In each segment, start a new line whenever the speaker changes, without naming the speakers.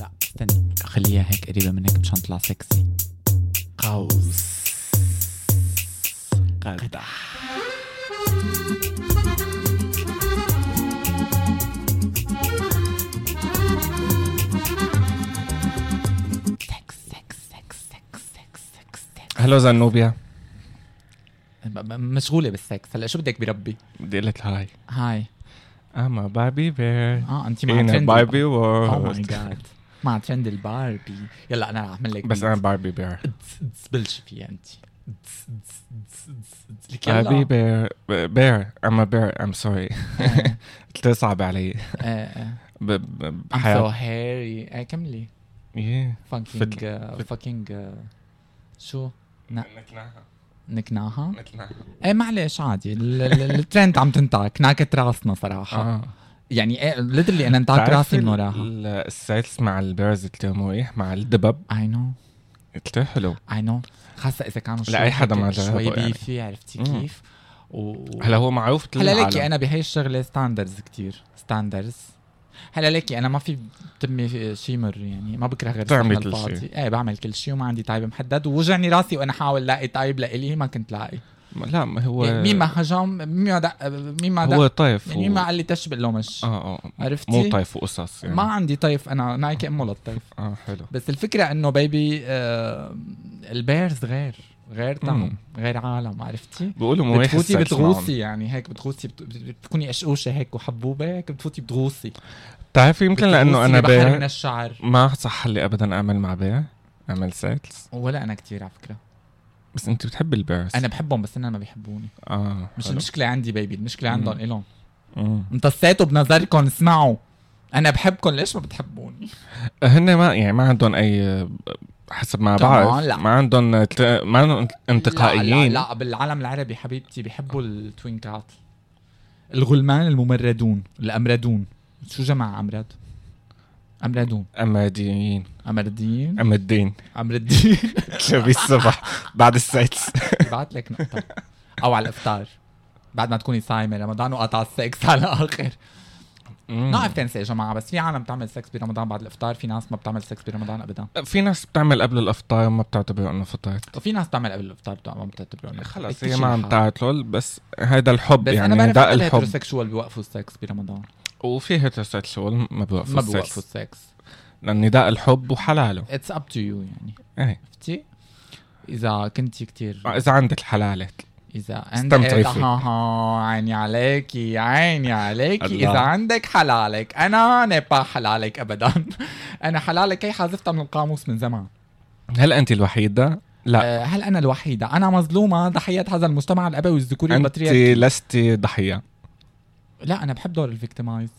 لا استني خليها هيك قريبة منك مشان تطلع سكسي قوس قدح سكس سكس سكس سكس سكس سكس سكس.
هلو زنوبيا
ب- ب- مشغولة بالسكس هلا شو بدك بربي؟
بدي اقول لك هاي
هاي
اما باربي بير
اه انت مع
انا
ترند
باربي
او ماي
وورد
جاد مع ترند الباربي يلا انا رح اعمل لك
بس انا باربي بير
تبلش فيها انت دز- دز- دز- دز- لك يلا.
باربي بير بير اما بير ام سوري
آه،
تصعب علي
آه، آه.
ب- ب-
I'm so
بحياتي
hairy آه، كملي
Yeah.
fucking
فت-
آه، fucking آه، شو
نكناها
نكناها؟
نكناها
ايه معلش عادي ال- ال- الترند عم تنتعك ناكت راسنا صراحة
اه
يعني ايه literally انا انتعك راسي من وراها
السيلز مع البيرز التمويه مع الدبب
I know
كتير حلو
I know خاصة إذا كانوا شوي
لأي حدا
هيك-
ما
شوي
جربه يعني.
بيفي عرفتي
مم.
كيف؟ و-
هلا هو معروف بكل
هلا ليكي
العالم.
انا بهي الشغله ستاندرز كتير ستاندرز هلا ليكي انا ما في بتمي شيء مر يعني ما بكره غير
بتعمل
الشغل
كل شي.
الفاضي. ايه بعمل كل شيء وما عندي تايب محدد ووجعني راسي وانا حاول لاقي تايب لإلي ما كنت لاقي
لا ما هو
يعني مين ما هجم مين ما دق مين ما
هو
دق
طيف
يعني
و-
مين ما قال لي تشبق لو مش
اه اه
عرفتي؟
مو طيف وقصص يعني
ما عندي طيب. طيف انا نايك امه للطيف
اه حلو
بس الفكره انه بيبي آه البيرز غير غير طعم غير عالم عرفتي؟
بيقولوا مو واحد
بتفوتي
سكس معهم.
بتغوصي يعني هيك بتغوصي بت- بتكوني قشقوشه هيك وحبوبه هيك بتفوتي بتغوصي
بتعرفي يمكن لانه انا
بحر من
بيع
الشعر
ما صح لي ابدا اعمل مع بيع اعمل سيلز
ولا انا كتير على فكره
بس انت بتحبي البيرز
انا بحبهم بس انا ما بيحبوني
اه
مش
حلو.
المشكله عندي بيبي المشكله
مم.
عندهم الهم
مم.
امتصيتوا بنظركم اسمعوا انا بحبكم ليش ما بتحبوني
هن ما يعني ما عندهم اي حسب ما
طبعاً
بعرف
لا.
ما عندهم ت- ما عندهم
لا,
انتقائيين
لا, لا بالعالم العربي حبيبتي بيحبوا التوينكات الغلمان الممردون الامردون شو جمع امرد امردون
اماديين
امردين
ام الدين
امردين
تلاقيه الصبح بعد السيلز
بعت لك نقطة أو على الإفطار بعد ما تكوني صايمة رمضان وقطع السكس على الآخر نعرف تنسى يا جماعة بس في عالم بتعمل سكس برمضان بعد الإفطار في ناس ما بتعمل سكس برمضان أبدا
في ناس بتعمل قبل الافطار ما بتعتبر انه فطرت
وفي ناس بتعمل قبل الإفطار بتوع- ما بتعتبره إنه
خلص
إكتشي
هي ما عم
لحالها.
تعتلل بس هيدا الحب
بس
يعني
أنا بعرف
دق
حتى
الحب
الهيتروسكشوال بيوقفوا السكس برمضان
وفي هيتروسيكشوال ما بوقفوا
ما بيوقفوا
السكس
السكس
لان داء الحب وحلاله
اتس اب تو يو يعني
ايه
عرفتي؟ إذا كنتي كتير
اذا آه، عندك حلالة
إذا
استمتعي
عندك
فيه.
ها عيني عليكي عيني عليكي
الله.
إذا عندك حلالك أنا نبا حلالك أبدا أنا حلالك هي حذفتها من القاموس من زمان
هل انت الوحيدة؟ لا
أه، هل أنا الوحيدة أنا مظلومة ضحية هذا المجتمع الأبوي الذكوري
انت
البطريركي
لست ضحية
لا أنا بحب دور الفيكتمايز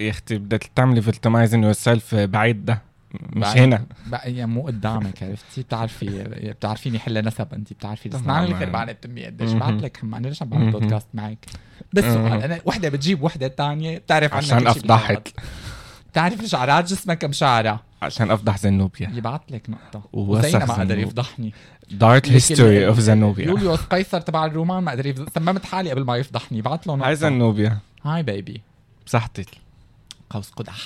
يا اختي بدك تعملي فيكتمايزنج يور سيلف بعيد ده مش
بعيد.
هنا
بقى يعني مو قدامك عرفتي بتعرفي بتعرفيني حل نسب انت بتعرفي
طبعاً.
اسمعني الخير بعد بتمي قديش
مهم.
بعت لك هم انا ليش عم بعمل
مهم.
بودكاست معك بس سؤال
مهم.
انا وحده بتجيب وحده ثانيه بتعرف عنك
عشان
كل شي بالحياة.
افضحك
بتعرف شعرات جسمك مشعرة
عشان افضح زنوبيا
يبعت لك نقطة
ووسخ
وزينا ما قدر
زنوب.
يفضحني
دارك هيستوري اوف زنوبيا
يوليوس قيصر تبع الرومان ما قدر يفضح سممت حالي قبل ما يفضحني بعت له نقطة
هاي زنوبيا
هاي بيبي
صحتك
قوس قدح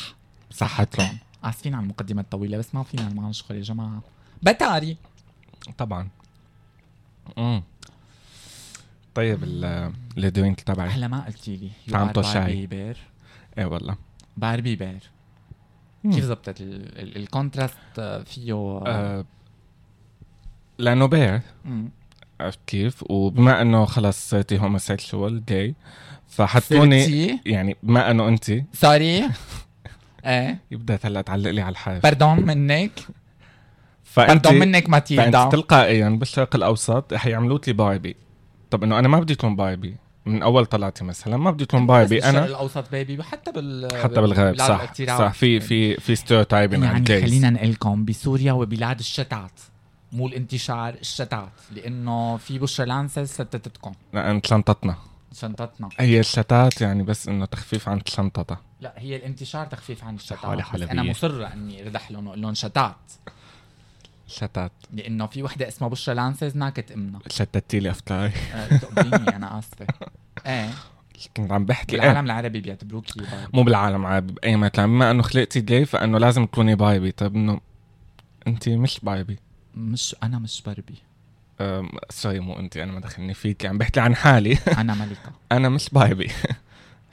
صحتكم
عاسفين على المقدمة الطويلة بس ما فينا ما نشغل يا جماعة بتاري
طبعا امم طيب ال- الدرينك تبعي
هلا ما قلتي لي You
طعمته
are
شاي.
Barbie bear
ايه والله
باربي بير
مم.
كيف زبطت ال- ال- الكونتراست آه، فيه آه،
آه، لانه بير
مم.
عرفت كيف وبما انه خلص صرتي هوموسيكشوال جاي فحتكوني
سيرتي؟
يعني بما انه انت
سوري ايه
يبدا هلا تعلق لي على الحرف
باردون منك
فانت
باردون منك
فانت
ماتيلدا
تلقائيا بالشرق الاوسط حيعملوا لي باربي طب انه انا ما بدي اكون باربي من اول طلعتي مثلا ما بدي اكون
بس
باربي
بالشرق
انا
الاوسط بيبي حتى بال
طيب، حتى بالغرب
بالعالم
صح
الاغتراب.
صح في في في ستيريوتايبنج عن
يعني
الجايز
خلينا نقلكم بسوريا وبلاد الشتات مو الانتشار الشتات لانه في بشرى لانسز شتتتكم
لان شنطتنا
شنطتنا
هي الشتات يعني بس انه تخفيف عن الشنطه
لا هي الانتشار تخفيف عن الشتات
حالي
بس انا
حلبية.
مصره اني اردح لهم واقول لهم شتات
شتات
لانه في وحده اسمها بشرى لانسز ناكت امنا
شتتي لي افكاري
آه، تقبيني انا اسفه ايه
كنت عم بحكي إيه.
بالعالم العربي بيعتبروكي باربي
مو بالعالم عاد باي مكان بما انه خلقتي جاي فانه لازم تكوني بايبي طيب انه انت مش بايبي
مش انا مش باربي
أم، سوري مو انت انا ما دخلني فيك عم بحكي عن حالي
انا ملكه
انا مش بايبي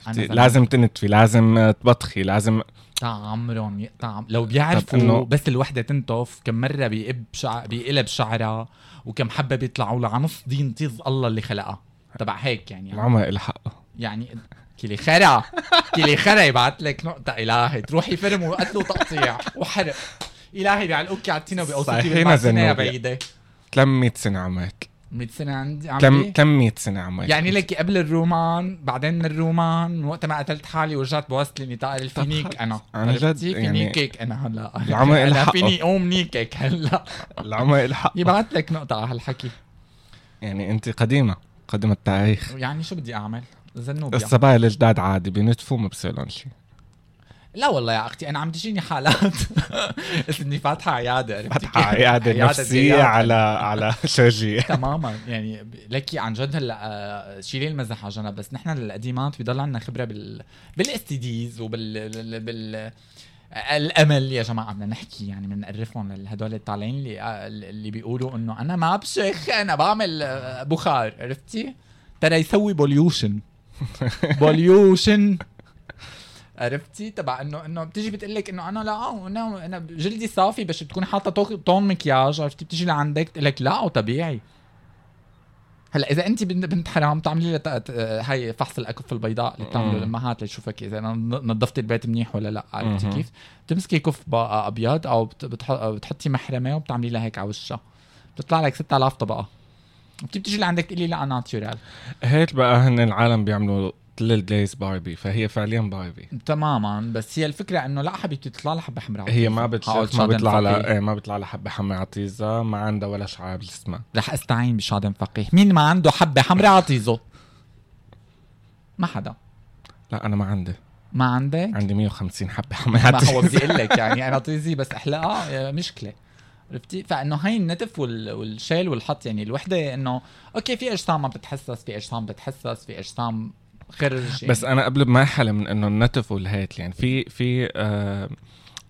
انا زمان
لازم تنتفي لازم آه، تبطخي لازم
يقطع عمرهم يقطع عم... لو
طب إنه-
بيعرفوا بس الوحده تنتف كم مره بيقب شع... بيقلب شعرها وكم حبه بيطلعوا لها على نص دين طيز الله اللي خلقها تبع هيك يعني يعني,
العمر إلها حقه
يعني كلي خرا كلي خرا يبعث لك نقطه الهي تروحي فرم وقتل وتقطيع وحرق الهي بيعلقوك على التينه بقوسيتي
صحينا
بيقطع سنه يا
زنوبيا.
بعيده
300 سنه عمرك
100 سنه عندي عم
كم
بي-
300 سنه عمرك
يعني لك قبل الرومان بعدين من الرومان من وقت ما قتلت حالي ورجعت بوصلي نطاق الفينيك انا
عن جد
عرفتي؟
يعني-
فينيكك انا هلا
العمر إلها
أنا
حقه.
فيني قوم نيكك هلا
العمر إلها حقه
يبعت لك نقطة على هالحكي
يعني انت قديمه قديمه التاريخ
يعني شو بدي اعمل؟ زنوبيا
الصبايا الجداد عادي بينتفوا ما بصير لهم شيء
لا والله يا اختي انا عم تجيني حالات بس اني فاتحة عيادة عرفتي
فتحة
كيف؟
عياده نفسيه
جياد.
على على شرجيه
تماما يعني ب- لكي عن جد هلا آه، شيلي المزح على جنب بس نحن القديمات بضل عندنا خبره بال بالاستديز وبال بال... بال... الامل يا جماعه بدنا نحكي يعني بدنا نقرفهم لهدول الطالعين اللي آه، اللي بيقولوا انه انا ما بشخ انا بعمل آه، بخار عرفتي؟ ترى يسوي بوليوشن بوليوشن عرفتي تبع انه انه بتيجي بتقول لك انه انا لا انا انا جلدي صافي بس بتكون حاطه طوق- طون مكياج عرفتي بتيجي لعندك تقول لك لا طبيعي هلا اذا انت بنت بنت حرام تعملي لها ت- ت- هاي فحص الاكف البيضاء اللي بتعمله
مم.
الامهات لتشوفك اذا انا ن- نظفت البيت منيح ولا لا عرفتي
مهم.
كيف؟ بتمسكي كف بقى ابيض او بت- بتح- بتحطي محرمه وبتعملي لها هيك على وشها بتطلع لك 6000 طبقه بتيجي بتيجي لعندك تقولي لا انا ناتشورال
هيك بقى هن العالم بيعملوا ليل جليز باربي فهي فعليا باربي
تماما بس هي الفكره انه لا حبيبتي تطلع لها حبه حمراء
هي ما
هقعد
بتشوف ما
شادن
بيطلع
فقيه.
لها إيه، ما بيطلع لها حبه حمراء عطيزه ما عندها ولا شعر بجسمها
رح استعين بشادن فقيه مين ما عنده حبه حمراء عطيزه ما حدا
لا انا ما عندي
ما عندك
عندي 150 حبه حمراء
ما هو
عطيزه
بدي اقول لك يعني انا طيزي بس احلقها آه، مشكله عرفتي فانه هاي النتف وال- والشيل والحط يعني الوحده انه اوكي في اجسام ما بتتحسس في اجسام بتتحسس في اجسام خرج يعني.
بس انا قبل ما حلم من انه النتف والهيك يعني في في آه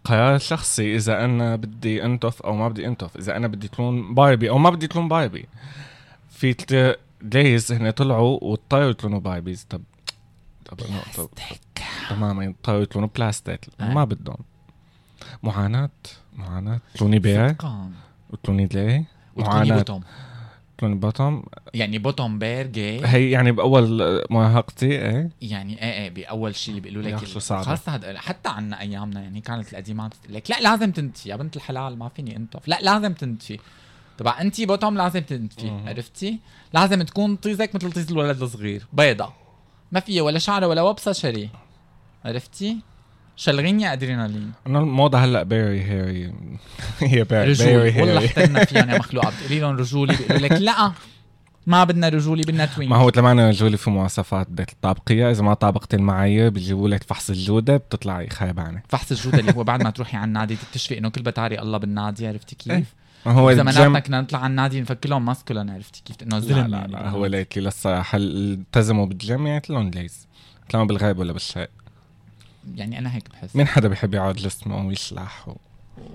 قرار شخصي اذا انا بدي انتف او ما بدي انتف اذا انا بدي كلون باربي او ما بدي كلون باربي في كتير جايز هن طلعوا واضطروا يكونوا باربيز طب طب إنه- طب
بلاستيك.
تماما اضطروا يكونوا بلاستيك
آه.
ما بدهم معاناة معاناة كلوني بيع
صدقاً.
كلوني دلي
وتكوني
معاناة
بوتوم
كلوني بطم
يعني بوتوم بير جاي
هي يعني باول مراهقتي ايه
يعني ايه ايه باول شيء اللي بيقولوا
يا
لك
أخي شو صعبة.
خاصه هاد حتى عنا ايامنا يعني كانت القديمات بتقول لك لا لازم تنتفي يا بنت الحلال ما فيني انتف لا لازم تنتفي تبع انت بوتوم لازم تنتفي
مهم.
عرفتي لازم تكون طيزك مثل طيز الولد الصغير بيضة ما فيها ولا شعره ولا وبصه شري عرفتي شلغيني يا ادرينالين
انا الموضه هلا بيري هيري هي بيري بيري
رجولي والله
هيري
احتلنا فيهم يا مخلوقه بتقولي لهم رجولي بيقولوا لك لا ما بدنا رجولي بدنا توين
ما هو تماما رجولي في مواصفات بيت الطابقيه اذا ما طابقت المعايير بيجيبوا لك فحص الجوده بتطلعي خيبانه
فحص الجوده اللي هو بعد ما تروحي على النادي تكتشفي انه كل بتاري الله بالنادي عرفتي
إيه.
كيف؟
ما هو
زماناتنا
الجيم
كنا نطلع على النادي نفكر لهم ماسكولين عرفتي كيف انه
لا
زلم
لا
يعني
لا هو ليت لي للصراحه ال- التزموا بالجيم يعني لون ليز طالما بالغيب ولا بالشرق
يعني انا هيك بحس
مين حدا بيحب يقعد جسمه ويشلح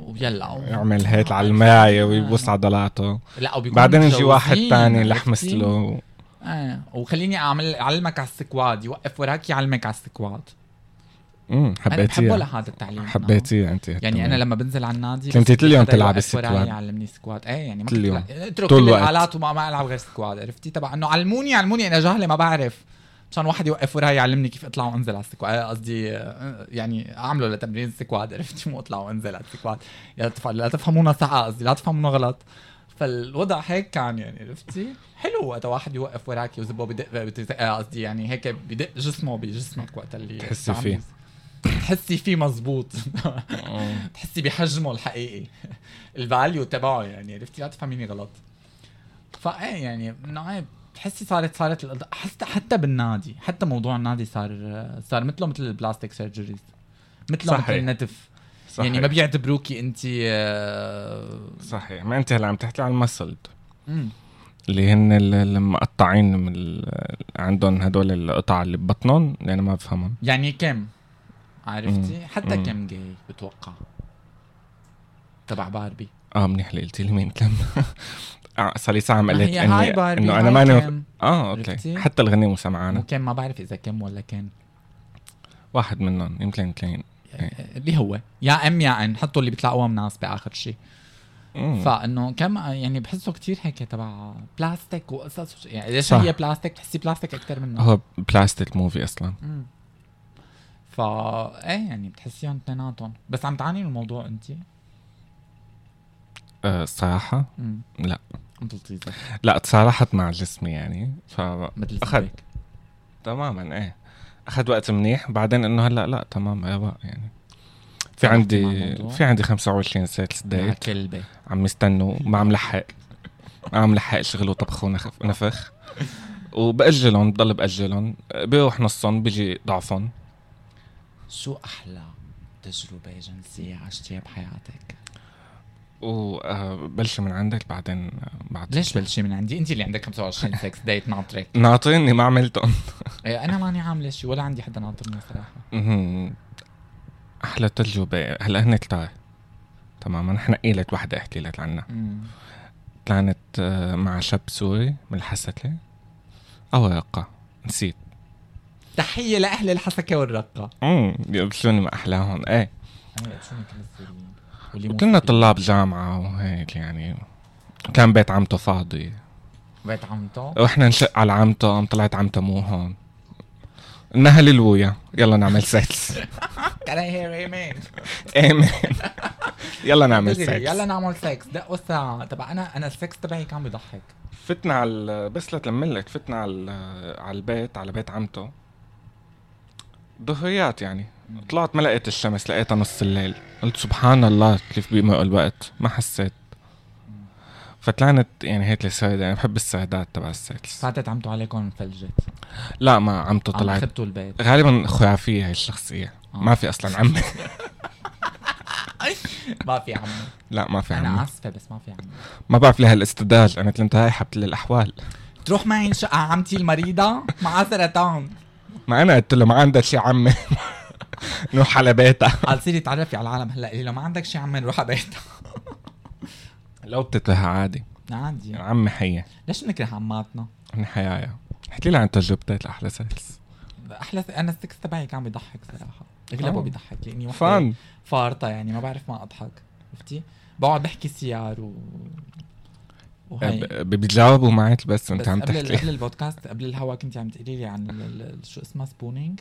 ويلا و-
ويعمل هيك على المرايه ويبوس عضلاته
لا وبيكون
بعدين يجي واحد
آه. متجوزين،
تاني
عرفتي؟
لح مثله
آه. وخليني اعمل اعلمك على السكواد يوقف وراك يعلمك على السكواد
امم
انا بحبه
حبيتيها
لهذا التعليم
حبيتيها انت
يعني انا لما بنزل على النادي
كنت
بس
كل يوم
حدا
تلعبي
يوقف وراي
سكواد.
يعلمني سكواد ايه يعني ما
كل
كنت
يوم.
لا- اترك
طول
كل
الوقت.
الالات وما ما العب غير سكواد عرفتي تبع انه علموني علموني انا جاهله ما بعرف مشان واحد يوقف وراي يعلمني كيف اطلع وانزل على السكواد آه، قصدي آه، يعني اعمله لتمرين السكواد عرفتي مو اطلع وانزل على السكواد يا تف- لا تفهمونا صح قصدي لا تفهمونا غلط فالوضع هيك كان يعني عرفتي حلو وقت واحد يوقف وراك وزبه بدق بدق- آه، قصدي يعني هيك بدق جسمه بجسمك وقت اللي
تحسي
بتعمل-
فيه.
تحسي فيه مزبوط
لما
بتحسي بحجمه الحقيقي الفاليو تبعه يعني عرفتي لا تفهميني غلط فايه يعني انه إيه، بتحسي صارت صارت القض- حتى حتى بالنادي حتى موضوع النادي صار صار مثله مثل البلاستيك سيرجريز مثله
صحيح.
مثل النتف
صحيح.
يعني ما بيعتبروكي انت آه،
صحيح ما انت هلا عم تحكي عن المسلد
مم.
اللي هن ال- اللي مقطعين من ال- عندهم هدول القطع اللي ببطنهم لأن ما بفهمهم
يعني كم عرفتي
مم.
حتى
مم.
كم جاي بتوقع تبع باربي
اه منيح اللي قلت لي مين كم آه، صار لي ساعة عم قلت
هي هاي
اني
باربي
انه
هاي
انا ماني
كم
اه
عرفتي؟
اوكي حتى الغنية مو سمعانة
وكم ما بعرف اذا كم ولا كان
واحد منهم يمكن اثنين
اللي هو يا ام يا ان حطوا اللي بيطلعوها مناسبه اخر شيء فانه كم يعني بحسه كتير هيك تبع بلاستيك وقصص وش- يعني ليش
صح.
هي بلاستيك بتحسي بلاستيك اكثر منه
هو بلاستيك موفي اصلا
مم. فا ايه يعني بتحسيهم اثنيناتهم بس عم تعاني من الموضوع انت
آه، الصراحة
مم.
لا.
انت لطيفه
لا تصالحت مع جسمي يعني ف
مثل
أخذ.
زيك.
تماما ايه اخذ وقت منيح بعدين انه هلا لا تمام يا بقى يعني في
صلحت
عندي
مع الموضوع؟
في عندي 25 سيلز
مع
ديت
كلبه
عم يستنوا ما عم لحق ما عم لحق شغل وطبخ ونخ- ونفخ وبأجلهم بضل بأجلهم بيروح نصهم بيجي ضعفهم
شو احلى تجربه جنسيه عشتيها بحياتك
وبلش آه، من عندك بعدين آه، بعد
ليش بلشي من عندي انت اللي عندك 25 سكس ديت ناطرك
ناطريني ما عملتهم
إيه، انا ماني عامله شيء ولا عندي حدا ناطرني صراحه
مهم. احلى تجربه هلا هن كتار تماما احنا قيلت وحده احكي لك عنها
مم.
طلعت آه، مع شاب سوري من الحسكه او رقه نسيت
تحيه لاهل الحسكه والرقه
امم يبشروني ما احلاهم ايه
انا أيوة، شو كنا السوريين واللي مو
وكنا
سوريين.
طلاب جامعه وهيك يعني كان بيت عمته فاضي
بيت عمته
رحنا نشق على عمته قام طلعت عمته مو هون نهل الويا يلا نعمل سكس
كان هير ايمان
امين يلا نعمل سكس
تدري، يلا نعمل سكس دقوا الساعه تبع انا انا السكس تبعي كان بيضحك
فتنا على ال- بس لتلملك فتنا على ال- على البيت على بيت عمته ظهريات يعني طلعت ما لقيت الشمس لقيتها نص الليل قلت سبحان الله كيف بيمرق الوقت ما حسيت فطلعت يعني هيك السردة انا بحب السردات تبع السكس
فاتت عمتوا عليكم فلجت
لا ما عمته
عم آه.
طلعت
خبتوا البيت
غالبا خرافية هاي الشخصية ما في اصلا عمي
ما في عمي
لا يعني ما في
انا
عمي
اسفه بس ما في عمي
ما بعرف ليه هالاستدلال انا كنت هاي حبت للاحوال
تروح معي شقه عمتي المريضه مع سرطان
ما انا قلت له ما عندك شي عمي نروح على بيتها
قال سيري تعرفي على العالم هلا لو ما عندك شيء عمي نروح على بيتها
لو بتتلها عادي يعني
عادي
عمي حية
ليش نكره عماتنا؟
من حيايا احكي لي عن تجربتك لأحلى سكس
احلى انا السكس تبعي كان بيضحك صراحه اغلبه
آه.
بيضحك لاني وحده
فن
فارطة يعني ما بعرف ما اضحك عرفتي؟ بقعد بحكي سيار و وهي
أب- ب- بيتجاوبوا معك بس
بس
انت عم
قبل ال-
تحكي
قبل البودكاست قبل الهوا كنت عم تقولي لي عن ال- ال- شو اسمها سبونينج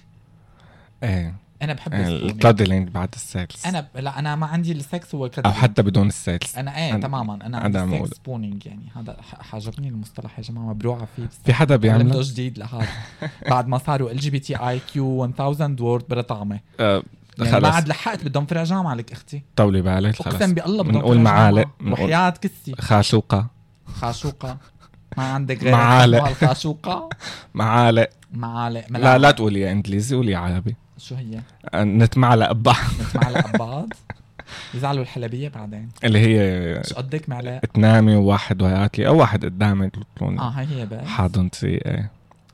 ايه
انا بحب السبونينج
الكادلينج بعد السكس
انا ب... لا انا ما عندي السكس هو كذا
او حتى بدون السكس
انا ايه
أنا-
تماما انا
أنا
عندي
عم أقول.
السكس سبونينج يعني هذا ح- حاجبني المصطلح يا جماعه مبروعه فيه
في حدا
عملته
بيعمل
جديد لهذا بعد ما صاروا ال جي بي تي اي كيو 1000 وورد بلا طعمه يعني ما
آه، خلص
عاد لحقت بدهم فرع جامعه لك اختي
طولي بالك خلص
اقسم بالله بدهم
منقول
فرع جامعة.
معالق، منقول-
وحياه كسي
خاشوقة
خاشوقه ما عندك غير
معالق.
اسمها الخاشوقه
معالق
معالق
لا لا
ملعقة.
تقولي يا انجليزي قولي عربي
شو هي؟
أن- نتمعلق ببعض
مثل معلقه ببعض يزعلوا الحلبيه بعدين
اللي هي
شو قدك معلقه؟
تنامي وواحد وراكي او واحد قدامك
اه
بتكون
هاي هي بقى
حاضنتي ايه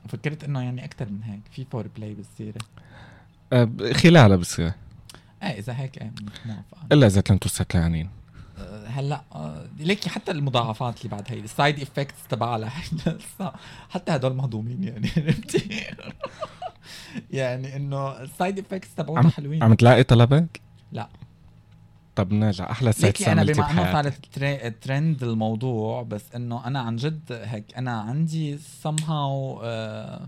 فكرت انه يعني اكثر من هيك في فور بلاي بالسيره
أه، ب- خلالها بصير
ايه اذا هيك ايه موافقه
الا اذا كنتوا سكرانين
أه، هلا أه، ليكي حتى المضاعفات اللي بعد هي السايد افكتس تبعها لهي لسه حتى هدول مهضومين يعني عرفتي؟ يعني انه السايد افكتس تبعهم حلوين
عم تلاقي طلبات؟
لا.
طب نرجع احلى سكس
ليكي انا
عملتي
بما انه
بحياتك
صارت تري- ترند الموضوع بس انه انا عن جد هيك انا عندي somehow آه،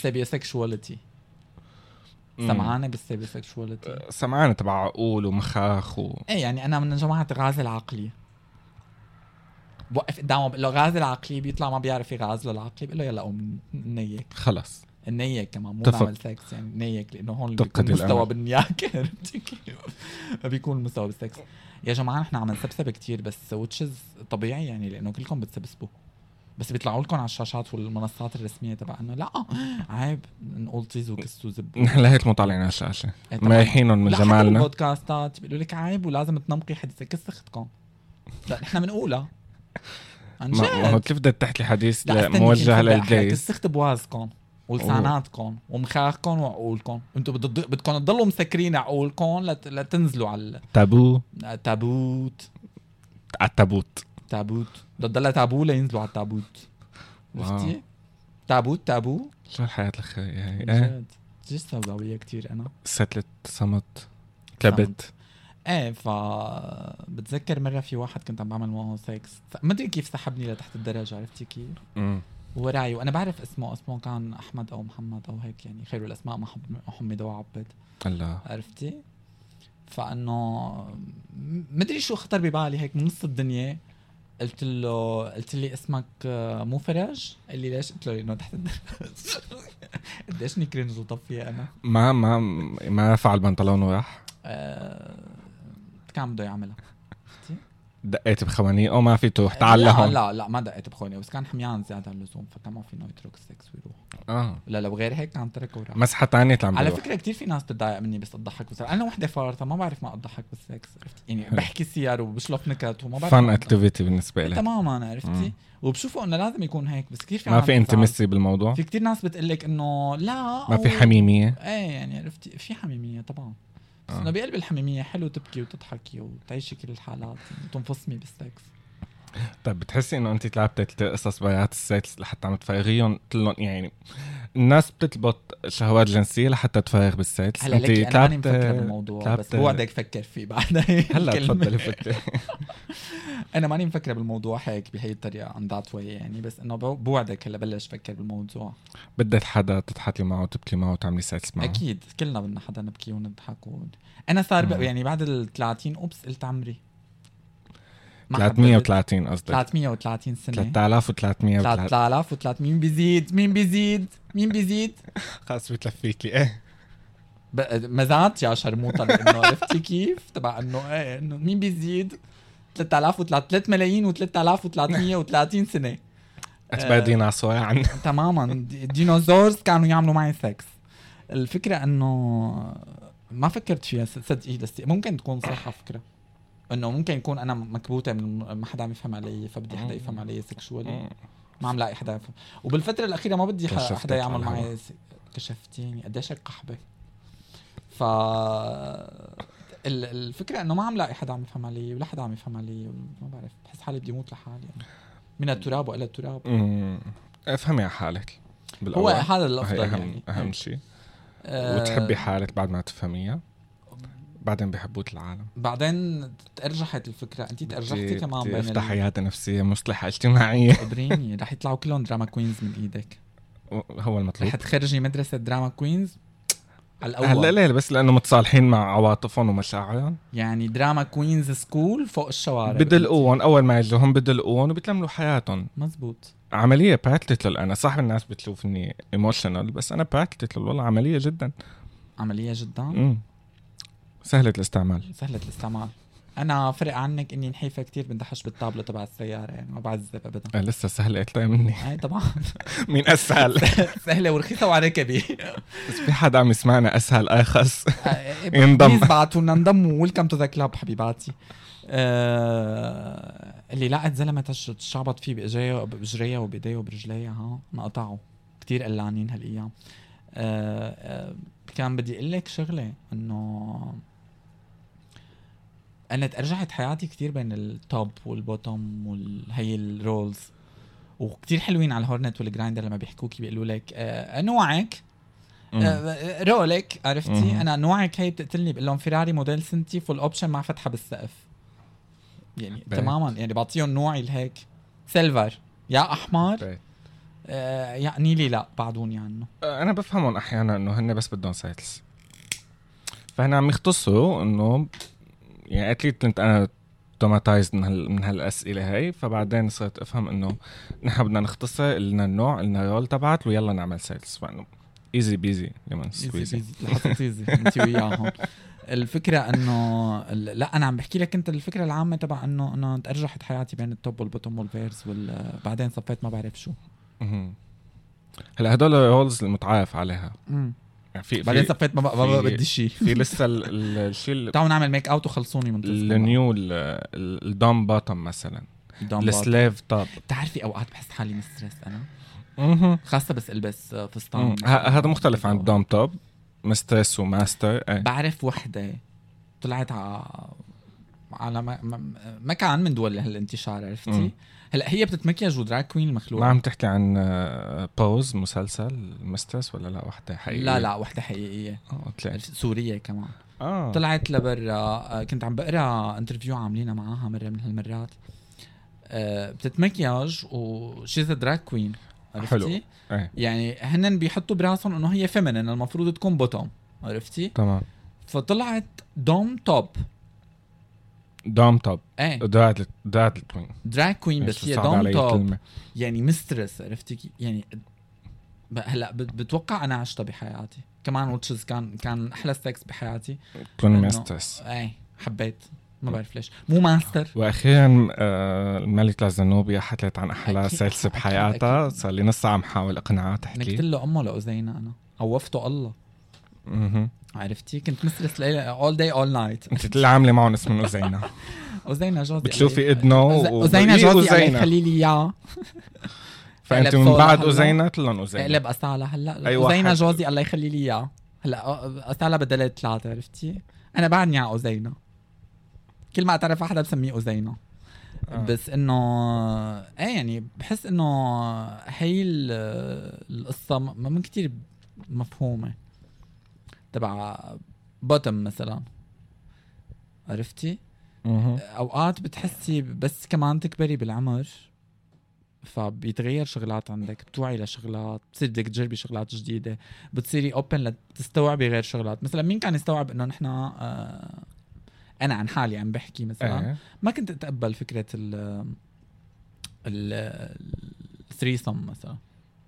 سيبيو سيكشواليتي
مم.
سمعانه بالسيبيو سيكشواليتي
سمعانة تبع عقول ومخاخ و...
ايه يعني انا من جماعه غاز العقلي بوقف قدامه بقول له غاز العقلي بيطلع ما بيعرف يغازله العقلي بقول له يلا قوم نيك
خلص
نيك كمان مو
اتفق.
نعمل سكس يعني نيك لانه هون
تفقد
بيكون مستوى
الأمل.
بالنياكه عرفتي كيف؟ ما بيكون مستوى بالسكس يا جماعه نحن عم نسبسب كتير بس وتشز طبيعي يعني لانه كلكم بتسبسبوا بس بيطلعوا لكم على الشاشات والمنصات الرسميه تبع انه لا عيب نقول تيز وكسوا زبوا
نحن لهيك مو طالعين على الشاشة
إيه طبعاً.
مريحينهم من
لا، حتى
جمالنا
بالبودكاستات بيقولوا لك عيب ولازم تنمقي حديثك كس اختكم لا نحن بنقولها عن
ما ما هو
جد
كيف بدك تحكي حديث
لا،
لا
استني
موجه
شوف بقى، إحنا بدك
للجايز
تستخدم وعظكم ولساناتكم ومخاخكم وعقولكم انتم بدكم تضلوا مسكرين عقولكم لت- لتنزلوا على
تابو
التابوت
على التابوت
تابوت بدها تضلها تابو لينزلوا على التابوت
واو.
عرفتي؟ تابوت تابو
شو الحياة الخيرية هي
عن
ايه
جد جد سوداوية كتير انا
ستلت صمت كبت
ايه ف بتذكر مره في واحد كنت عم بعمل معه سكس ما ادري كيف سحبني لتحت الدرج عرفتي كيف
مم.
وراي وانا بعرف اسمه اسمه كان احمد او محمد او هيك يعني خير الاسماء ما حب- حمد وعبد
الله
عرفتي فانه م- مدري شو خطر ببالي هيك من نص الدنيا قلت له قلت لي اسمك آه، مو فرج؟ قال لي ليش؟ قلت له لانه تحت الدرج قديش كرنج وطفيه انا
ما ما ما رفع البنطلون وراح
آه، كان بده يعملها
دقيت بخوانيه او ما في تروح تعال لهون
لا لا لا ما دقيت بخوني بس كان حميان زياده عن اللزوم فكان ما فينا يترك السكس ويروح
اه
لا لو غير هيك كان تركه وراح
مسحه تانية عم
على
بروح
فكره كتير في ناس بتضايق مني بس اضحك بس انا وحده فارطه ما بعرف ما اضحك بالسكس عرفت يعني بحكي سيار وبشلف نكت وما بعرف
فن
ما أضحك.
اكتيفيتي بالنسبه لك
تماما عرفتي
مم.
وبشوفه انه لازم يكون هيك بس كثير في
ما
عالم
في
بتزعل.
انتمسي بالموضوع
في كتير ناس بتقلك انه لا
ما في
أو-
حميميه
ايه يعني عرفتي في حميميه طبعا بس
آه.
انه بقلب الحميميه حلو تبكي وتضحكي وتعيشي كل الحالات وتنفصمي بالسكس
طيب بتحسي انه انت تلعبتي تلتقي قصص برات السيت لحتى عم تفرغيهم تلهم يعني الناس بتطلبط شهوات جنسيه لحتى تفرغ بالسيت
هلا لك انا ماني مفكره بالموضوع بس بوعدك فكر فيه بعدها
هلا
الكلمة.
تفضلي فكري
انا ماني مفكره بالموضوع هيك بهي الطريقه عن ذات واي يعني بس انه بو- بوعدك هلا بلش فكر بالموضوع
بدك حدا تضحكي معه وتبكي معه وتعملي سيت معه
اكيد كلنا بدنا حدا نبكي ونضحك و... انا صار
مم.
بقى يعني بعد ال 30 اوبس قلت عمري ما حددت.
330 قصدك
330 سنه
3330
3300 مين بيزيد مين بيزيد مين بيزيد
خلص بتلفيكي ايه
ب- مزعت يا شرموطه لانه عرفتي كيف تبع انه ايه انه مين بيزيد 3000 و 3 ملايين و3330 سنه
اتبقى
آه.
ديناصور عنا
تماما دي- ديناصورز كانوا يعملوا معي سكس الفكره انه ما فكرت فيها ص- صدقي لستي ممكن تكون صح على فكره انه ممكن يكون انا مكبوته من ما حدا عم يفهم علي فبدي حدا يفهم علي سكشوالي ما عم لاقي حدا يفهم وبالفتره الاخيره ما بدي ح-
كشفتك
حدا يعمل
على الهوا.
معي س- كشفتيني قديش هيك قحبه ف ال- الفكره انه ما عم لاقي حدا عم يفهم علي ولا حدا عم يفهم علي ما بعرف بحس حالي بدي موت لحالي من التراب والى التراب
مم. افهمي على حالك
هو
بالاول
هذا الافضل
هي اهم
يعني
اهم شيء
آه،
وتحبي حالك بعد ما تفهميها بعدين بحبوك العالم
بعدين تأرجحت الفكره انت تأرجحتي
بدي-
كمان
بدي
بين
افتح
ال-
حياتي نفسيه مصلحه اجتماعيه
خبريني رح يطلعوا كلهم دراما كوينز من ايدك
هو المطلوب
رح تخرجي مدرسه دراما كوينز على
هلا
الاول
ليه بس لانه متصالحين مع عواطفهم ومشاعرهم
يعني دراما كوينز سكول فوق الشوارع
بدلقون اول ما يجوهم بدلقون وبتلملوا حياتهم
مزبوط
عملية باتلتل انا صح الناس بتشوفني ايموشنال بس انا باتلتل والله عملية جدا
عمليه جدا
مم. سهلة الاستعمال
سهله الاستعمال انا فرق عنك اني نحيفه كتير بندحش بالطابله تبع السياره يعني ما بعذب ابدا
آه، لسه سهلة اكثر مني
اي طبعا
مين اسهل
سهله ورخيصه وعلى ركبي
بس في حدا عم يسمعنا آه، اسهل ارخص ينضم.
ينضم بعتوا لنا انضموا ويلكم تو ذا كلاب حبيباتي آه، اللي لقت زلمه تش- تشعبط فيه باجريه باجريه وبايديه وبرجليه ها انقطعوا كتير قلعانين هالايام آه، آه، كان بدي اقول لك شغله انه انا تأرجحت حياتي كتير بين التوب والبوتوم والهي الرولز وكتير حلوين على الهورنت والجرايندر لما بيحكوكي بيقولوا لك آه، نوعك
مم.
آه، رولك عرفتي
مم.
انا نوعك هي بتقتلني بقول لهم فيراري موديل سنتي فول اوبشن مع فتحه بالسقف يعني
بيت.
تماما يعني بعطيهم نوعي لهيك سيلفر يا احمر
طيب.
آه يا نيلي لا بعدوني عنه
آه، انا بفهمهم احيانا انه هن بس بدهم سايتلز فهنا عم يختصروا انه يعني اتليت كنت انا توماتايزد من, هال من هالاسئله هاي فبعدين صرت افهم انه نحن بدنا نختصر قلنا النوع قلنا الرول تبعت ويلا نعمل سايتلز فانه ايزي بيزي لمن سكويزي
تيزي انت وياهم الفكره انه ال- لا انا عم بحكي لك انت الفكره العامه تبع انه انا تأرجحت حياتي بين التوب والبوتوم والفيرس وبعدين صفيت ما بعرف شو
مهم. هلا هدول الرولز المتعارف عليها
مم.
يعني في
بعدين
في,
صفيت ما, ما, ما
في-
بدي شيء
في لسه ال- ال- الشيء ال-
تعالوا نعمل ميك اوت وخلصوني من التسخين.
النيو ال- ال- الدوم باتم مثلا
دمبل
السليف توب
بتعرفي اوقات بحس حالي مسترس انا
مهم.
خاصه بس البس فستان
مم. ه- هذا مختلف عن الدوم توب مسترس وماستر ايه
بعرف وحده طلعت على على م- م- مكان من دول هالانتشار عرفتي
مم. نعم،
هلا هي بتتمكيج ودراج كوين
ما
المخلوقه
عم تحكي عن بوز مسلسل مسترس ولا لا وحده حقيقيه
لا لا وحده حقيقيه
اه طلعت
سوريه كمان
اه
طلعت لبرا آه، كنت عم بقرا انترفيو عاملينها معاها مره من هالمرات آه، بتتمكياج وشيز دراج كوين عرفتي؟
حلو. ايه
يعني هن بيحطوا براسهم انه هي فيمنين المفروض تكون بوتوم عرفتي؟
تمام
فطلعت دوم توب
دوم توب
ايه
دراعت دراعت التوين
دراج كوين بس هي دوم توب يعني مسترس عرفتي كي- يعني ب- هلا بت- بتوقع انا عشتها بحياتي كمان واتشز كان كان احلى سكس بحياتي
تكون
إنه-
مسترس
ايه حبيت ما بعرف ليش مو ماستر
واخيرا آه، الملكة زنوبيا حكت عن احلى
أكيد.
سلسله
أكيد.
بحياتها صار لي نص ساعه عم حاول اقنعها
نكت
تحكي
له امه لاذينا انا خوفته الله
مهم.
عرفتي كنت مسترس ليلى اول داي اول نايت
انت طلع عامله معهم اسم أزينة
أذينا جوزي
بتشوفي
قال لي-
اذنه
أز-
و-
أذينا
إيه
يعني جوزي قال لي
أزينة.
خلي لي اياه
فانت
قلب
من
صورة
بعد
هلا.
أزينة طلعن أزينة
اقلب أسالة هلا
أي
أذينا
واحد.
جوزي الله يخلي لي اياه هلا أسالة بدلت ثلاثة عرفتي أنا بعدني على أذينا كل ما أتعرف على حدا بسميه أذينا
آه.
بس انه ايه يعني بحس انه هي ال- القصه م- من كتير مفهومه تبع بوتم مثلا عرفتي؟
مهم.
اوقات بتحسي بس كمان تكبري بالعمر فبيتغير شغلات عندك بتوعي لشغلات بتصير بدك تجربي شغلات جديده بتصيري اوبن لتستوعبي غير شغلات مثلا مين كان يستوعب انه نحن آه انا عن حالي عم بحكي مثلا
إيه.
ما كنت اتقبل فكره ال ال الثريسم مثلا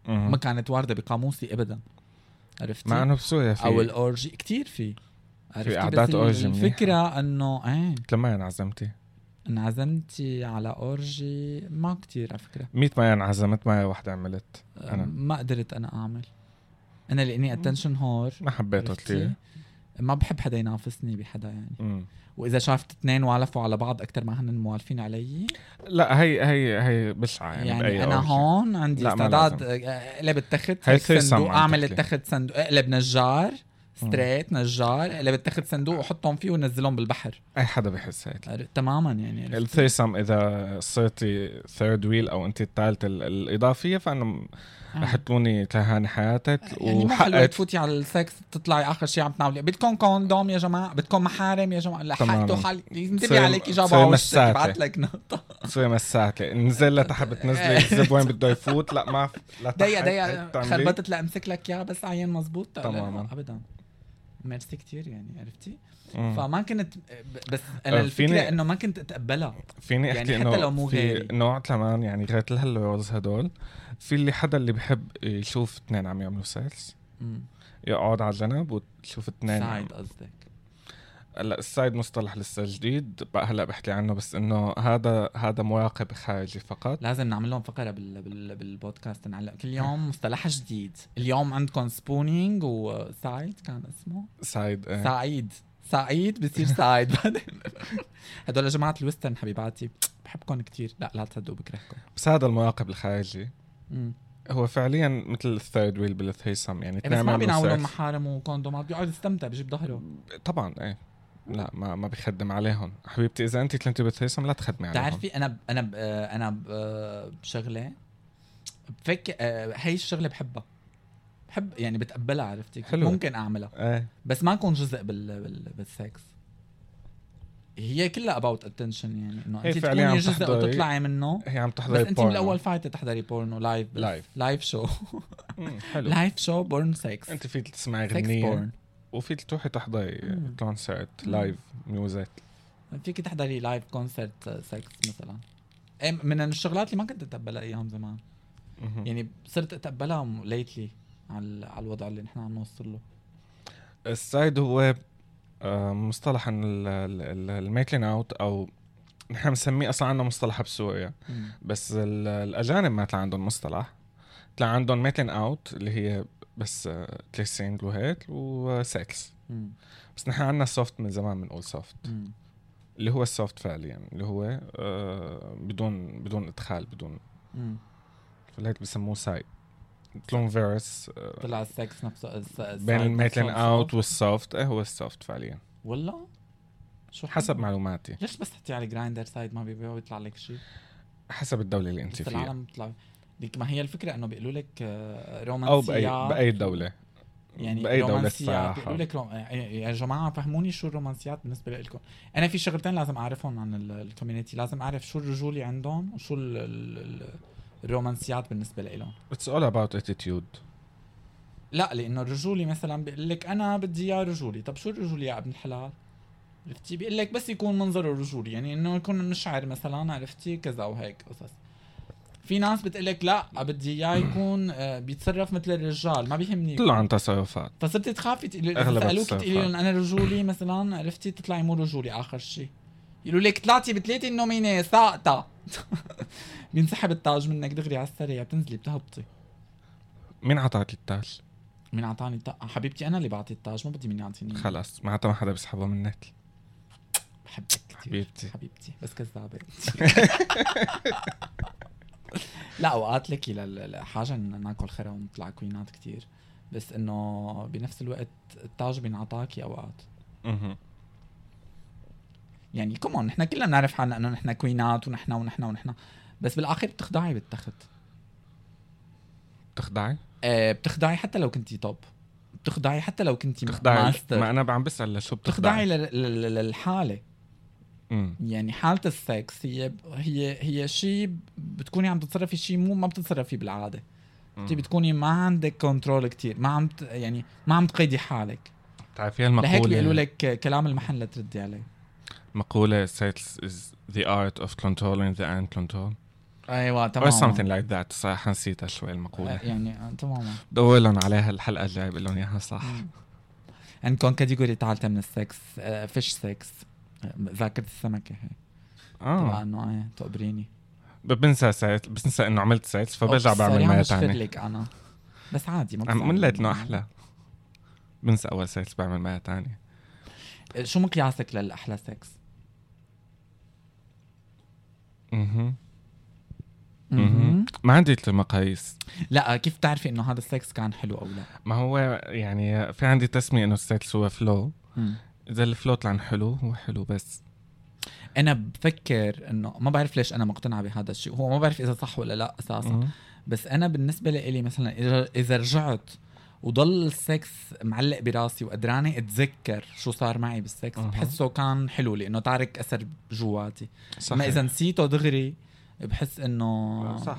مهم.
ما كانت وارده بقاموسي ابدا عرفتي
مع انه بسوريا في
او الاورجي كتير في عرفتي؟ بس
قعدات
ال-
أورجي منيحة.
الفكره انه ايه
لما انعزمتي؟
انعزمتي على اورجي ما كتير على فكره
100 ما انعزمت ما وحده عملت أنا.
ما قدرت انا اعمل انا لاني اتنشن هور
ما حبيته كثير
ما بحب حدا ينافسني بحدا يعني واذا شافت اثنين والفوا على بعض اكثر ما هن موالفين علي
لا هي هي هي بشعه يعني,
يعني
بأي
انا
أوجه.
هون عندي
لا، ما
استعداد
لازم.
اقلب التخت
هاي
هيك
تصير
صندوق
سمعة
اعمل
بتحكي.
التخت صندوق اقلب نجار
مم.
ستريت نجار اقلب التخت صندوق وحطهم فيه ونزلهم بالبحر
اي حدا بحس هيك
تماما يعني عرفت؟
الثيسم اذا صرتي ثيرد ويل او انت الثالثه ال- الاضافيه فانا
آه.
حطوني تهاني حياتك
يعني ما حلوة
وحقت
تفوتي على السكس تطلعي اخر شيء عم تناولي بدكم كوندوم يا جماعه بدكم محارم يا جماعه لحقتوا
تماماً.
حالي انتبهي
تصير-
عليك
تصير
اجابه وشك
مساكة.
بعت لك نقطه
تصير مساكه نزل لتحت بتنزلي
إيه.
الزب وين بده يفوت لا ما ف- لتحت
ضيق
هيك
ضيق
بتعملي.
خربطت لامسك لك اياها بس عين مزبوط لا،
تماماً.
لا، ابدا ميرسي كثير يعني عرفتي؟
مم.
فما كنت ب- بس انا
آه،
الفكره
فيني-
انه ما كنت اتقبلها
فيني
يعني
احكي
حتى لو مو
انه في
غالي.
نوع كمان يعني غير الهالرولز هدول في اللي حدا اللي بحب يشوف اثنين عم يعملوا سيلز
مم.
يقعد على جنب وتشوف اثنين عم-
سايد قصدك
هلا السايد مصطلح لسه جديد بقى هلا بحكي عنه بس انه هذا هذا مراقب خارجي فقط
لازم نعمل لهم فقره بال... بال... بالبودكاست نعلق كل يوم مصطلح جديد اليوم عندكم سبونينج وسايد كان اسمه
سايد ايه
سعيد سعيد بصير سعيد بعدين هدول جماعة الويسترن حبيباتي بحبكم كتير لا لا تصدقوا بكرهكم
بس هذا المراقب الخارجي
مم.
هو فعليا مثل الثيرد ويل بالثيسم يعني
إيه بس ما
بيعملوا
بيناولهم
sex.
محارم وكوندومات بيقعد يستمتع بجيب ظهره
طبعا ايه لا ما ما بخدم عليهم حبيبتي اذا انت كنتي بالثيسم لا تخدمي عليهم
بتعرفي انا ب... انا ب... آه، انا ب... آه، بشغله بفك آه، هي الشغله بحبها بحب يعني بتقبلها عرفتي
حلو.
ممكن اعملها
ايه
بس ما اكون جزء بال... بال... بالسكس هي كلها اباوت اتنشن يعني انه
هي
انت تكوني
فعلياً عم
جزء
تحضري-
وتطلعي منه
هي عم
بس
تحضري
انت من
porno.
الاول فايته تحضري بورنو لايف
Live.
لايف شو
مم، حلو
لايف شو بورن سكس
انت فيك تسمعي
سكس
غنية
بورن
وفيك تروحي تحضري
مم.
كونسرت
مم.
لايف ميوزك
فيك تحضري لايف كونسرت سكس مثلا إيه، من الشغلات اللي ما كنت اتقبلها ايام زمان
مهم.
يعني صرت اتقبلها ليتلي على ال- على الوضع اللي نحن عم نوصل له
السايد هو آه، مصطلح عن ال- ال- ال- الميكلين اوت او نحن بنسميه اصلا عندنا مصطلح بسوريا
مم.
بس ال- الاجانب ما طلع عندهم مصطلح طلع عندهم ميكلين اوت اللي هي بس آه، كليسينج وهيك وسكس
مم.
بس نحن عندنا سوفت من زمان بنقول سوفت
مم.
اللي هو السوفت فعليا اللي هو آه بدون بدون ادخال بدون
مم.
هيك بسموه سايد كلون فيروس آه
طلع السكس نفسه الس- الس-
بين الميتلين
نفسه
اوت والسوفت ايه هو السوفت فعليا
والله شو
حسب معلوماتي
ليش بس تحطيه على جرايندر سايد ما بيبيعوا يطلع لك شيء؟
حسب الدوله اللي انت
بس
فيها
العالم بتطلع ليك ما هي الفكره انه بيقولوا لك آه،
او باي
رومانسيات
باي دوله
يعني
باي دوله
رومانسيات بيقولوا
الصراحه
لك روم... يا جماعه فهموني شو الرومانسيات بالنسبه لكم انا في شغلتين لازم اعرفهم عن ال- الكوميونتي لازم اعرف شو الرجولي عندهم وشو ال... ال... ال- الرومانسيات بالنسبه لهم
اتس اول اباوت اتيتيود
لا لانه الرجولي مثلا بيقول لك انا بدي اياه رجولي طب شو الرجولي يا ابن الحلال عرفتي بيقول لك بس يكون منظره رجولي يعني انه يكون مشعر مثلا عرفتي كذا وهيك قصص في ناس بتقول لك لا بدي اياه يكون آه، بيتصرف مثل الرجال ما بيهمني
كله عن تصرفات
فصرتي تخافي تقولي
أغلب
سالوك
التصرفات.
تقولي لهم انا رجولي مثلا عرفتي تطلعي مو رجولي اخر شيء يقولوا لك طلعتي بثلاثه النومينه ساقطه بينسحب التاج منك دغري على السريع بتنزلي بتهبطي
مين عطاك التاج؟
مين اعطاني الطاقه "آه، حبيبتي انا اللي بعطي التاج ما بدي مين يعطيني إياه.
خلص معناتها ما حدا بيسحبه منك
بحبك كثير
حبيبتي.
حبيبتي بس كذابه لا اوقات لك للحاجه ان ناكل خرا ونطلع كوينات كثير بس انه بنفس الوقت التاج بينعطاكي اوقات
اها
يعني كمان نحن كلنا بنعرف حالنا انه نحن كوينات ونحن ونحن ونحن بس بالاخر بتخضعي بالتخت
بتخدعي؟
آه بتخضعي حتى لو كنتي توب بتخضعي حتى لو كنتي
بتخدعي
ماستر
ما انا عم بسال لشو
بتخضعي
بتخدعي؟
لل- لل- لل- للحاله
مم.
يعني حالة السكس هي هي هي شيء بتكوني عم تتصرفي شيء مو ما بتتصرفي بالعادة،
مم.
انت بتكوني ما عندك كنترول كتير، ما عم ت- يعني ما عم تقيدي حالك،
بتعرفي
لهيك بيقولوا
المقولة
لك كلام المحل لا تردي عليه.
مقولة sales is the art of controlling the uncontrolled
ايوه
أيوة، or
تماما
something like that صراحة نسيتها شوي المقولة
يعني آه، تماما
دور لهم عليها الحلقة الجاية بقول لهم اياها صح
عندكم كاتيجوري ثالثة من السكس آه، فيش سكس آه، ذاكرة إيه. السمكة هي تبع
اه
انه ايه تقبريني
بنسى سايت بنسى انه عملت سايت فبرجع
أوكي،
بعمل
سوري، عم
مرة
بشفر
ثانية
لك انا بس عادي ما
عم
بزعل.
قلت انه احلى بنسى اول سايت بعمل مرة ثانية
آه، شو مقياسك للاحلى سكس؟
اها
مهم.
اها ما عندي كثير مقاييس
لا آه، كيف بتعرفي انه هذا السكس كان حلو او لا
ما هو يعني في عندي تسمية انه السايت هو فلو اذا الفلو طلع حلو هو حلو بس
انا بفكر انه ما بعرف ليش انا مقتنعه بهذا الشيء هو ما بعرف اذا صح ولا لا اساسا
مم.
بس انا بالنسبه لإلي مثلا إذا- اذا رجعت وضل السكس معلق براسي وقدراني اتذكر شو صار معي بالسكس
أها.
بحسه كان حلو لانه تارك اثر جواتي
صحيح آه،
اما اذا نسيته دغري بحس انه
صح.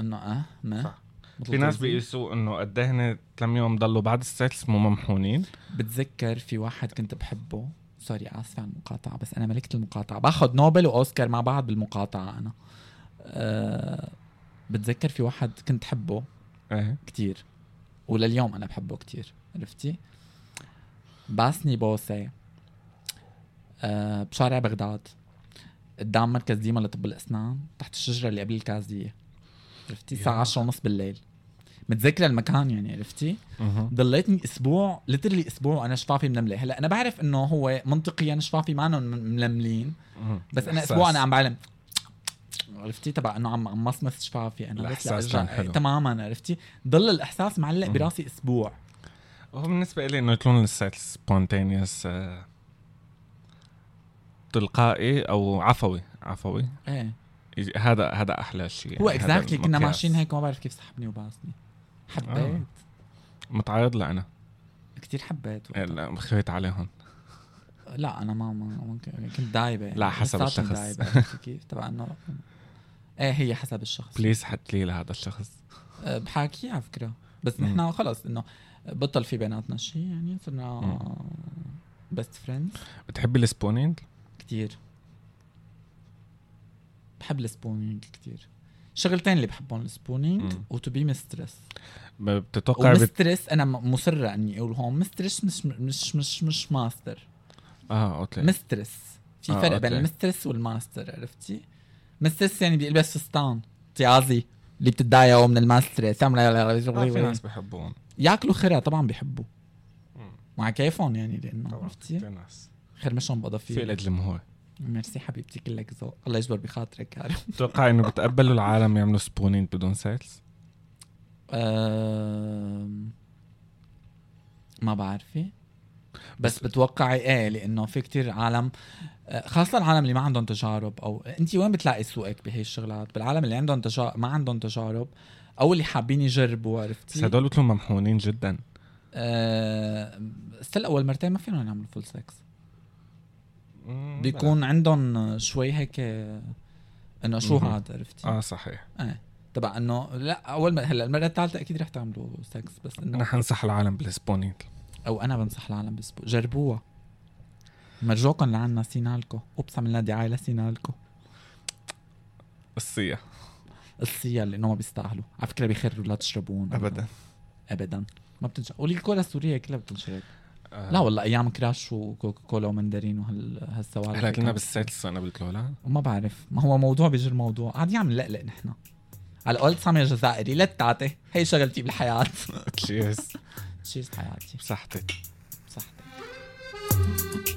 انه اه ما
صح.
بطل
في ناس
تلزيق.
بيقيسوا انه قد ايه هن كم يوم ضلوا بعد السيلز مو ممحونين
بتذكر في واحد كنت بحبه سوري اسفه على المقاطعه بس انا ملكه المقاطعه باخذ نوبل واوسكار مع بعض بالمقاطعه انا أه بتذكر في واحد كنت حبه
ايه
كتير ولليوم انا بحبه كتير عرفتي باسني بوسي أه بشارع بغداد قدام مركز ديما لطب الاسنان تحت الشجره اللي قبل الكازيه عرفتي الساعه
يا.
10 ونص بالليل متذكره المكان يعني عرفتي ضليتني اسبوع لترلي اسبوع وانا شفافي منمله هلا انا بعرف انه هو منطقيا شفافي ما منملين بس انا اسبوع انا عم بعلم عرفتي تبع انه عم عم مصمص شفافي انا بس
الإحساس
لأرجع-
كان حلو.
تماما عرفتي ضل الاحساس معلق
مم.
براسي اسبوع
هو بالنسبه لي انه يكون السيلز سبونتينيوس تلقائي او عفوي عفوي
ايه
يج- هذا هذا احلى شيء
هو
يعني هذا
اكزاكتلي كنا
المقياس.
ماشيين هيك ما بعرف كيف سحبني وباسني حبيت
آه. متعرض لانا
كثير حبيت وقتها.
إيه، لا خفيت عليهم
لا انا ما ما ما كنت- كنت دايبه يعني.
لا، حسب
لساتني
الشخص.
دايبة، عرفتي كيف تبع انه ايه هي حسب الشخص
بليز حط لي لهذا الشخص
أه، بحاكي على فكره بس
مم.
نحن خلص انه بطل في بيناتنا شيء يعني صرنا
مم.
بيست فريندز
بتحبي السبونينج؟
كتير بحب السبونينج كتير شغلتين اللي بحبهم السبونينج
مم.
وتو بي مسترس
ب- بتتوقع بت...
ومسترس انا م- مصره اني اقول هون مسترس مش مش مش مش ماستر
اه اوكي
مسترس في
آه،
فرق بين
أوكي.
المسترس والماستر عرفتي؟ مسترس يعني بيلبس فستان طيازي اللي بتتضايقوا من الماسترس
آه، في ناس بحبوهم
ياكلوا خرا طبعا بيحبوا
مم.
مع كيفهم يعني لانه
طبعا
عرفتي
في ناس
خرمشهم بقضى
في
فيه
لك جمهور
ميرسي حبيبتي كلك ذوق الله يجبر بخاطرك كارم
بتوقع انه بتقبلوا العالم يعملوا سبونينج بدون سيلز
أم، ما بعرفه بس بتوقعي ايه لانه في كتير عالم آه، خاصة العالم اللي ما عندهم تجارب او انت وين بتلاقي سوقك بهي الشغلات؟ بالعالم اللي عندهم تجارب ما عندهم تجارب او اللي حابين يجربوا
بس
عرفتي؟
هدول بيكونوا ممحونين جدا
أه... استل اول مرتين ما فيهم يعملوا فول سكس بيكون عندهم شوي هيك آه، انه شو
مهم.
هاد عرفتي؟
اه صحيح
ايه تبع انه لا اول ما هلا المره الثالثه اكيد رح تعملوا سكس بس
انا
انه
حنصح العالم بالسبونينج
او انا بنصح العالم بس جربوها مرجوكم لعنا سينالكو اوبس عملنا دعايه لسينالكو
الصية
الصيا لانه ما بيستاهلوا على فكره بيخروا لا تشربون
ابدا
ابدا ما بتنشرب والكولا السوريه كلها بتنشرب
آه.
لا والله ايام كراش وكوكا كولا ومندرين وهالسوالف
هلا كنا بالسادس انا قلت له لا
وما بعرف ما هو موضوع بيجر موضوع قاعد يعمل لقلق نحن على قولة سامية الجزائري للتعتي هي شغلتي بالحياة
تشيرز
شيز حياتي
بصحتك
صحتك